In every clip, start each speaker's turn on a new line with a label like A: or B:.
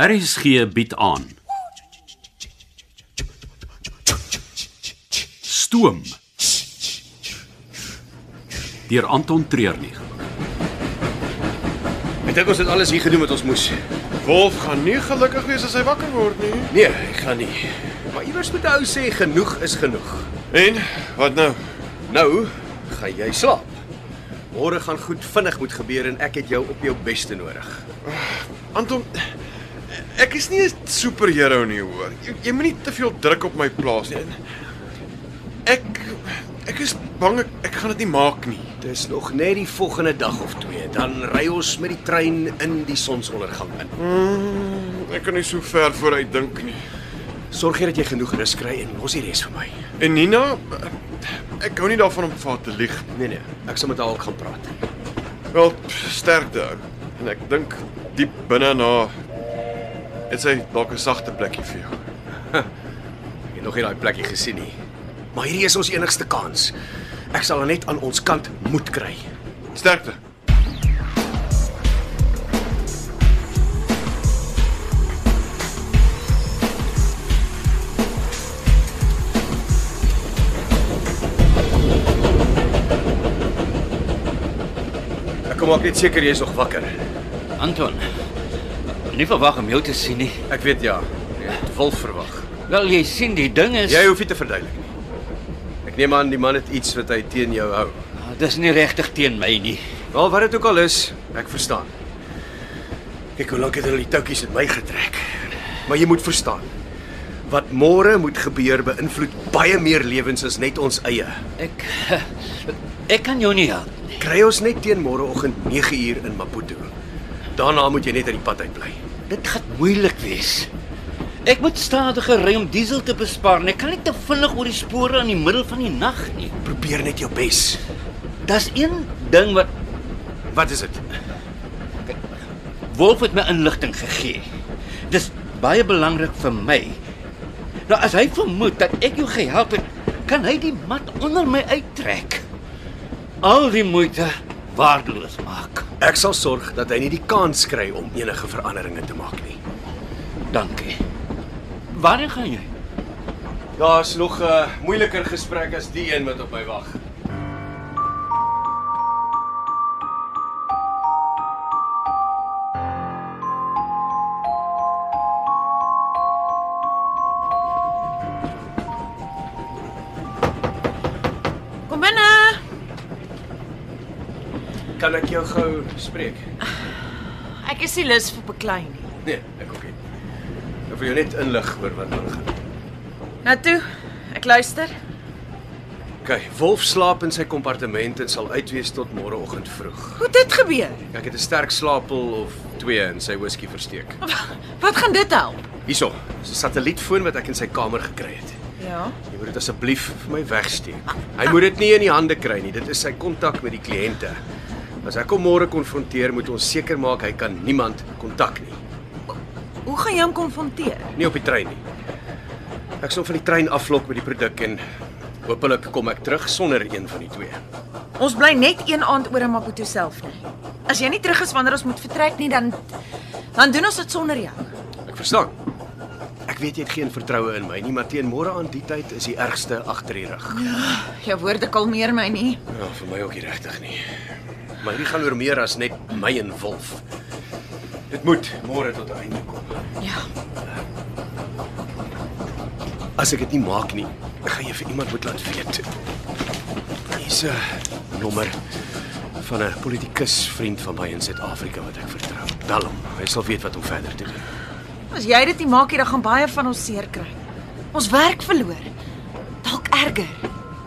A: RSG bied aan. Stoom. Deur Anton Treurnig.
B: Ek dink ons het alles hier gedoen wat ons moes.
C: Wolf gaan nie gelukkig wees as hy wakker word nie.
B: Nee, ek gaan nie. Maar iewers moet 'n ou sê genoeg is genoeg.
C: En wat nou?
B: Nou gaan jy slaap. Môre gaan goed vinnig moet gebeur en ek het jou op jou beste nodig.
C: Anton, ek is nie 'n superheld nie, hoor. Jy, jy moenie te veel druk op my plaas nie. En Ek ek is bang ek, ek gaan dit nie maak nie.
B: Dis nog net die volgende dag of twee, dan ry ons met die trein in die sonsondergang in.
C: Mm, Ek kan nie so ver vooruit dink nie.
B: Sorg jy dat jy genoeg rus kry en los die res vir my.
C: En Nina, ek hou nie daarvan om vir haar te lieg.
B: Nee nee, ek sal met haar ook gaan praat.
C: Wel, sterkte ou. En ek dink diep binne na dit sy dalk 'n sagte plekkie vir jou.
B: Ek het nog nie daai plekkie gesien nie. Maar hierdie is ons enigste kans. Ek sal haar net aan ons kant moet kry.
C: Sterkte.
B: Ek kom maak net seker jy is nog wakker.
D: Anton. Nie verwag om jou te sien nie.
B: Ek weet ja, jy het wil verwag.
D: Wel jy sien die ding is
B: Jy hoef nie te verduidelik nie. Ek neem aan die man het iets wat hy teen jou hou.
D: Ah, dis nie regtig teen my nie.
B: Wel wat dit ook al is, ek verstaan. Kyk hoe lank het hulle die toutjies in my getrek. Maar jy moet verstaan. Wat môre moet gebeur beïnvloed baie meer lewens as net ons eie.
D: Ek ek kan jou nie help.
B: Kry ons net teen môreoggend 9uur in Maputo. Daarna moet jy net uit die pad uit bly.
D: Dit gaan moeilik wees. Ek moet stadiger ry om diesel te bespaar. en Ek kan nie te vinnig oor die spore in die middel van die nag nie.
B: Probeer net jou bes.
D: Daar's een ding wat
B: Wat is dit?
D: Wolf het my inligting gegee. Dis baie belangrik vir my. Nou as hy vermoed dat ek jou gehelp het, kan hy die mat onder my uittrek. Al die moeite waardeloos maak.
B: Ek sal sorg dat hy nie die kans kry om enige veranderinge te maak nie.
D: Dankie. Waarheen gaan jy?
B: Daar's nog 'n uh, moeiliker gesprek as die een wat op my wag.
E: Kom binne.
B: Kan ek jou gou spreek?
E: Ek is nie lus vir beklei nie.
B: Nee, ek ook nie. Ek wil jou net inlig oor wat aangaan.
E: Nou toe, ek luister.
B: OK, Wolf slaap in sy kompartement en sal uitwees tot môreoggend vroeg.
E: Hoe het dit gebeur?
B: Ek het 'n sterk slaapil of 2 in sy whisky versteek.
E: Wat gaan dit help?
B: Hierso, is 'n satellietfoon wat ek in sy kamer gekry het.
E: Ja.
B: Jy moet dit asseblief vir my wegsteek. Hy moet dit nie in die hande kry nie. Dit is sy kontak met die kliënte. As ek hom môre konfronteer, moet ons seker maak hy kan niemand kontak nie.
E: Hoe gaan jy hom konfronteer?
B: Nie op die trein nie. Ek sal van die trein aflok met die produk en hopelik kom ek terug sonder een van die twee.
E: Ons bly net een aand oor in Maputo self nie. As jy nie terug is wanneer ons moet vertrek nie, dan dan doen ons dit sonder jou.
B: Ek verstaan. Ek weet jy het geen vertroue in my nie, maar teen môre aan die tyd is die ergste agter die rug.
E: Jou Ja, woorde kalmeer my nie.
B: Ja, vir my ook nie regtig nie. Maar hierdie gaan oor meer as net my en Wolf. Dit moet môre tot 'n einde kom.
E: Ja.
B: As ek dit nie maak nie, gaan jy vir iemand moet laat weet. Hier's 'n nommer van 'n politikus vriend van my in Suid-Afrika wat ek vertrou. Bel hom. Hy sal weet wat om verder te doen.
E: As jy dit nie maak nie, dan gaan baie van ons seer kry. Ons werk verloor. Dalk erger.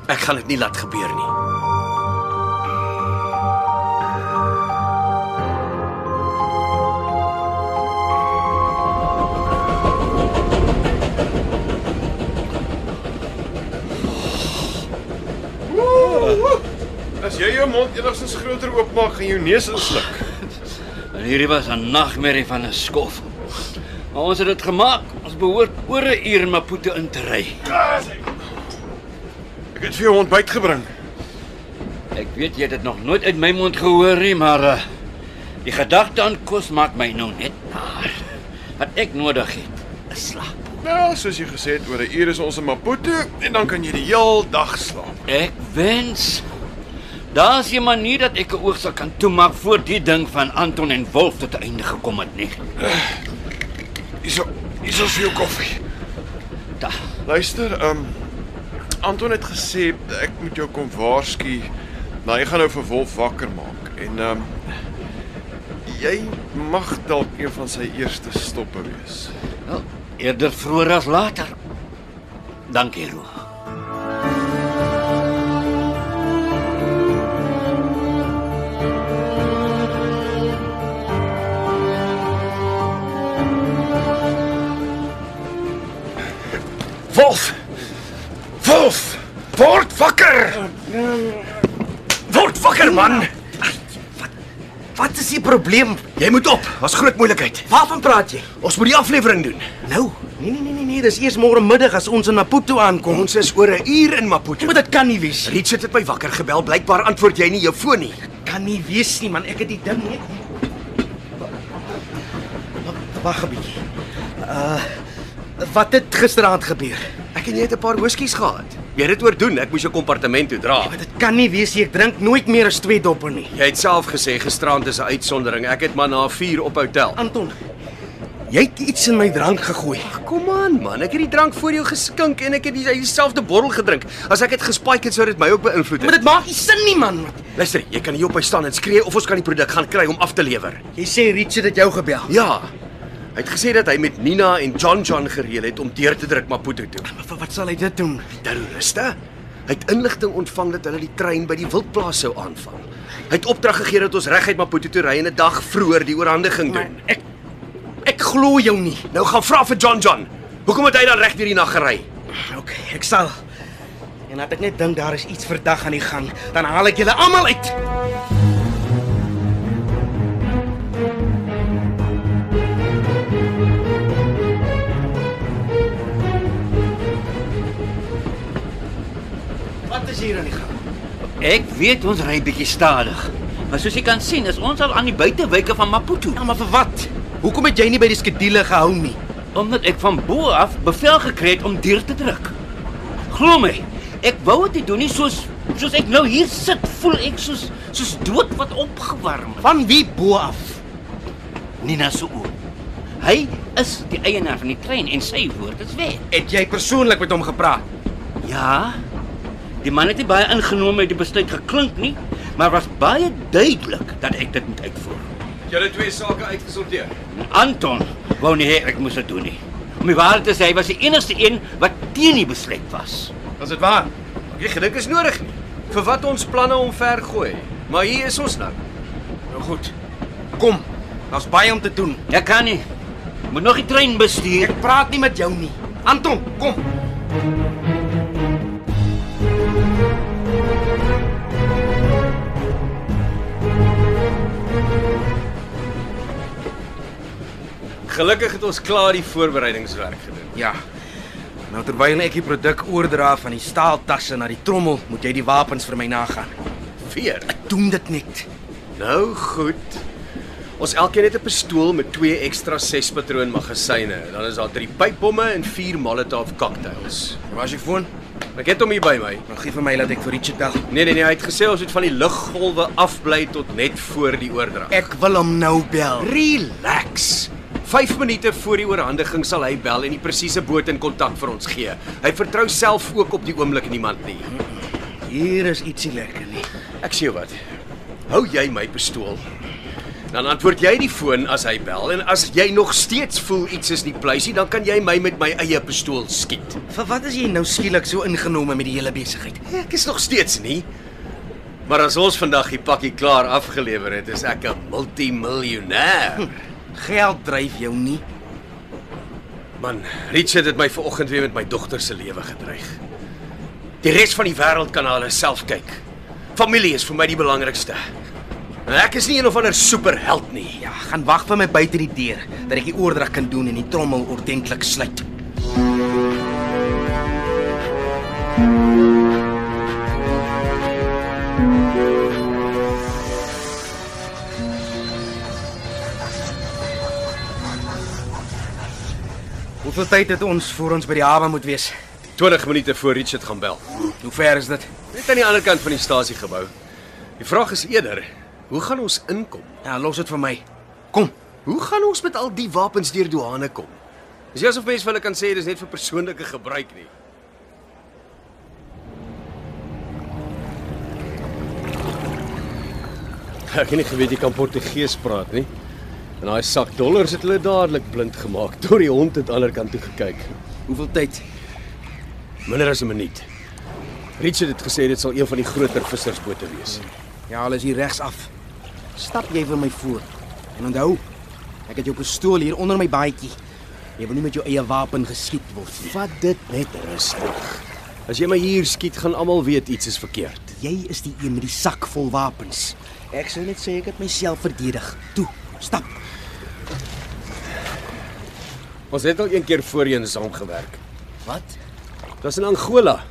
B: Ek gaan dit nie laat gebeur nie.
C: As jy jou mond enigstens groter oopmaak, gaan jou neus insluk.
D: En hierdie was 'n nagmerrie van 'n skof. Maar ons het dit gemaak. Ons behoort oor 'n uur in Maputo in te ry.
C: Ek het vir jou ontbyt gebring.
D: Ek weet jy het dit nog nooit uit my eh, mond gehoor nie, maar uh, die gedagte aan kos maak my nou net maar. Wat ek nodig het, is slaap.
C: Nou, soos jy gesê het, oor 'n uur is ons in Maputo en dan kan jy die heel dag slaap.
D: Ek wens daar's 'n manier dat ek 'n oog sal kan toemaak voor die ding van Anton en Wolf tot 'n einde gekom het nee. nie.
C: Hierso, hierso is jou koffie.
D: Da.
C: Luister, ehm um, Anton het gesê ek moet jou kom waarsku. Nou, jy gaan nou vir Wolf wakker maak en ehm um, jy mag dalk een van sy eerste stoppe wees.
D: Wel, eerder vroeër as later. Dankie, Roo.
B: Wolf! Wolf! Word wakker! Word wakker man!
F: Wat is die probleem?
B: Jy moet op. Was groot moeilikheid.
F: Waarvan praat jy?
B: Ons moet die aflewering doen.
F: Nou, nee nee nee nee nee, dis eers môre middag as ons in Maputo aankom. Ja,
B: Ons is oor 'n uur in Maputo.
F: Maar dit kan nie wees nie.
B: Richard het my wakker gebel. Blykbaar antwoord jy nie jou foon nie.
F: Kan nie wees nie man, ek het die ding net. Wa- Wag 'n bietjie. Uh wat het gisteraand gebeur?
B: Ek en jy het 'n paar whiskies gehad. Jy het dit oordoen. Ek moes jou kompartement toe dra.
F: Maar dit kan nie wees nie. Ek drink nooit meer as 2 doppe nie.
B: Jy het self gesê gisterand is 'n uitsondering. Ek het maar na 4 op hotel.
F: Anton, jy het iets in my drank gegooi.
B: Kom aan man, ek het die drank voor jou geskink en ek het die- dieselfde bottel gedrink. As ek dit gespike het sou dit my ook beïnvloed
F: Maar
B: het.
F: dit maak nie sin nie man.
B: Luister, jy kan hier op hy staan en skree of ons kan die produk gaan kry om af te lewer.
F: Jy sê Richard het jou gebel.
B: Ja. Hy het gesê dat hy met Nina en John John gereël het om deur te druk Maputo toe.
F: Maar vir wat sal hy dit doen?
B: Terroriste? Hy het inligting ontvang dat hulle die trein by die wildplaas sou aanval. Hy het opdrag gegee dat ons reguit Maputo toe ry en 'n dag vroeër die oorhandiging doen.
F: Ek ek glo jou nie.
B: Nou gaan vra vir John John. Hoekom het hy dan reg deur die nag gery?
F: OK, ek sal. En as ek net dink daar is iets verdag aan die gang, dan haal ek julle almal uit. Wat is hier aan die gang?
D: Ek weet ons ry bietjie stadig. Maar soos jy kan sien, is ons al aan die buitewyke van Maputo.
F: Ja, maar vir wat? Hoekom het jy nie by die skedule gehou nie?
D: Omdat ek van bo af bevel gekry het om deur te druk. Glo my, ek wou dit nie doen nie soos soos ek nou hier sit, voel ek soos soos dood wat opgewarm is.
F: Van wie bo af?
D: Nina se oom. Hy is die eienaar van die trein en sy woord is wet.
F: Het jy persoonlik met hom gepraat?
D: Ja. Die man het nie baie ingenome uit die besluit geklink nie, maar was baie duidelik dat ek dit moet uitvoer.
B: Julle twee sake uitgesorteer.
D: En Anton wou nie hê ek moes dit doen nie. Om die waarheid te sê, hy was die enigste een wat teen die besluit was.
B: Was dit waar? Jy geluk is nodig nie. Vir wat ons planne omver gooi. Maar hier is ons nou.
F: Nou goed. Kom. Daar's baie om te doen.
D: Ek kan nie. Moet nog die trein bestuur.
F: Ek praat nie met jou nie. Anton, kom.
B: Gelukkig het ons klaar die voorbereidingswerk gedoen.
F: Ja. Nou terwyl ek die produk oordra van die staaltasse na die trommel, moet jy die wapens vir my nagaan.
B: Veer.
F: Doen dit net.
B: Nou goed. Ons elkeen het 'n pistool met twee ekstra 6 patroon magasyne. Dan is daar 3 pypbomme en 4 Molotov cocktails.
F: Waar is jou foon?
B: Ek het hom hier by my.
F: Nou gee vir my laat ek vir Richard bel.
B: Nee nee nee, hy het gesê ons moet van die luggolwe afbly tot net voor die oordrag.
F: Ek wil hom nou bel.
B: Relax. 5 minute voor die oorhandiging sal hy bel en die presiese boot en kontak vir ons gee. Hy vertrou self ook op die oomblik niemand nie.
F: Hier is ietsie lekker nie.
B: Ek sê jou wat. Hou jy my pistool? Dan antwoord jy die foon as hy bel en as jy nog steeds voel iets is nie pleisie, dan kan jy my met my eie pistool skiet.
F: Vir wat is jy nou skielik so ingenome met die hele besigheid?
B: Ek is nog steeds nie. Maar as ons vandag die pakkie klaar afgelewer het, is ek 'n multimiljonair.
F: Geld dryf jou nie.
B: Man, Richard het my vanoggend weer met my dogter se lewe gedreig. Die res van die wêreld kan na hulle self kyk. Familie is vir my die belangrikste. En ek is nie een of ander superheld nie.
F: Ja, gaan wag vir my buite die deur dat ek die oordrag kan doen en die trommel ordentlik sluit. Hoeveel tyd het ons voor ons by die hawe moet wees?
B: 20 minute voor Richard gaan bel.
F: Hoe ver is dit?
B: Net aan die ander kant van die stasiegebou. Die vraag is eerder, hoe gaan ons inkom?
F: Ja, los dit vir my. Kom.
B: Hoe gaan ons met al die wapens deur douane kom? Dis nie asof mense vir hulle kan sê dis net vir persoonlike gebruik nie. Ek het nie geweet jy kan Portugees praat nie. En daai sak dollars het hulle dadelik blind gemaak. Tot die hond het aan die ander kant toe gekyk.
F: Hoeveel tyd?
B: Minder as 'n minuut. Richard het gesê dit sal een van die groter vissersbote wees.
F: Ja, alles hier regs af. Stap jy vir my voor. En onthou, ek het jou pistool hier onder my baadjie. Jy wil nie met jou eie wapen geskiet word nie.
B: Vat dit net rustig. As jy my hier skiet, gaan almal weet iets is verkeerd.
F: Jy is die een met die sak vol wapens. Ek sou net sê ek het myself verdedig. Toe, stap.
B: Ons het al een keer voorheen saamgewerk.
F: Wat?
B: Dit was in Angola.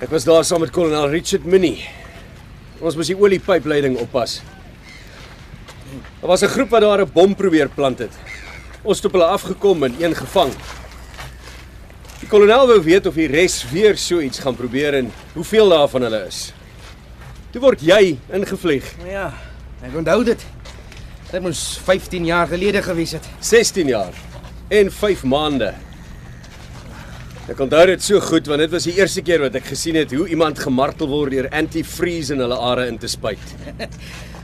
B: Ek was daar saam met kolonel Richard Minnie. Ons moes die oliepypleiding oppas. Daar was 'n groep wat daar 'n bom probeer plant het. Ons het op hulle afgekom en een gevang. Die kolonel wou weet of die res weer so iets gaan probeer en hoeveel daarvan hulle is. Toe word jy ingevlieg,
F: Nou ja, ek onthou dit. Dit moes 15 jaar gelede gewees het.
B: 16 jaar en 5 maande. Ek onthou dit so goed want dit was die eerste keer wat ek gesien het hoe iemand gemartel word deur antifreeze in hulle are in te spuit.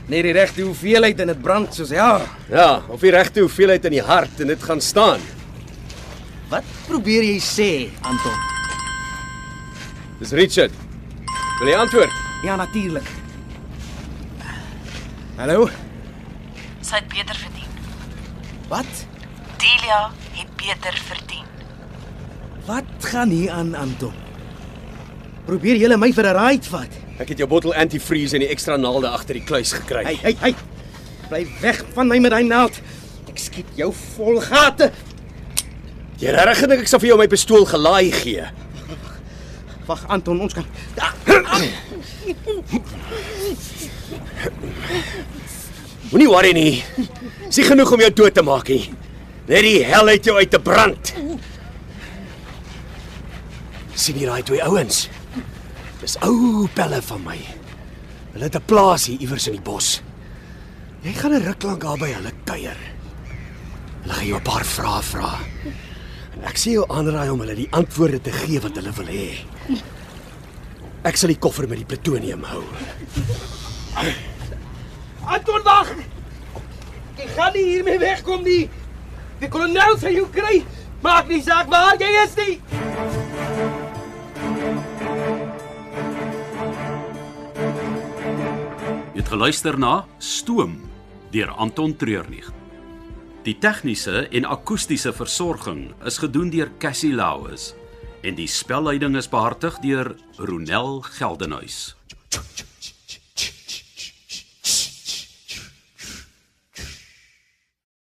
F: Net die regte hoeveelheid en dit brand soos ja.
B: Ja, of die regte hoeveelheid in die hart en dit gaan staan.
F: Wat probeer jy sê, Anton?
B: Dis Richard. Wil jy antwoord?
F: Ja, natuurlik. Hallo?
G: Sy het beter verdien.
F: Wat?
G: Delia het beter verdien.
F: Wat gaan hier aan, Anton? Probeer jy my vir 'n ride vat?
B: Ek het jou bottel antifreeze en die ekstra naalde agter die kluis gekry.
F: Hey, hey, hey. Bly weg van my met daai naald. Ek skiet jou vol gate.
B: Jy regtig gedink ek sal vir jou my pistool gelaai gee?
F: Wag, Anton, ons kan. Ah,
B: Moenie worry nie. Dis nie genoeg om jou dood te maak nie. Net die hel uit jou uit te brand. sien jy daai twee ouens? Dis ou pelle van my. Hulle het 'n plaas hier iewers in die bos. Jy gaan 'n ruk lank daar by hulle kuier. Hulle gaan jou 'n paar vrae vra. En ek sien jou aanraai om hulle die antwoorde te gee wat hulle wil hê. Ek sal die koffer met die plutonium hou.
F: Anton, wag. Jy gaan nie hiermee wegkom nie. Die kolonel sal jou kry. Maak nie saak waar jy is nie.
A: Jy het geluister na Stoom deur Anton Treurnig. Die tegniese en akoestiese versorging is gedoen deur Cassie Lauis en die spelleiding is behartig deur Ronel Geldenhuys.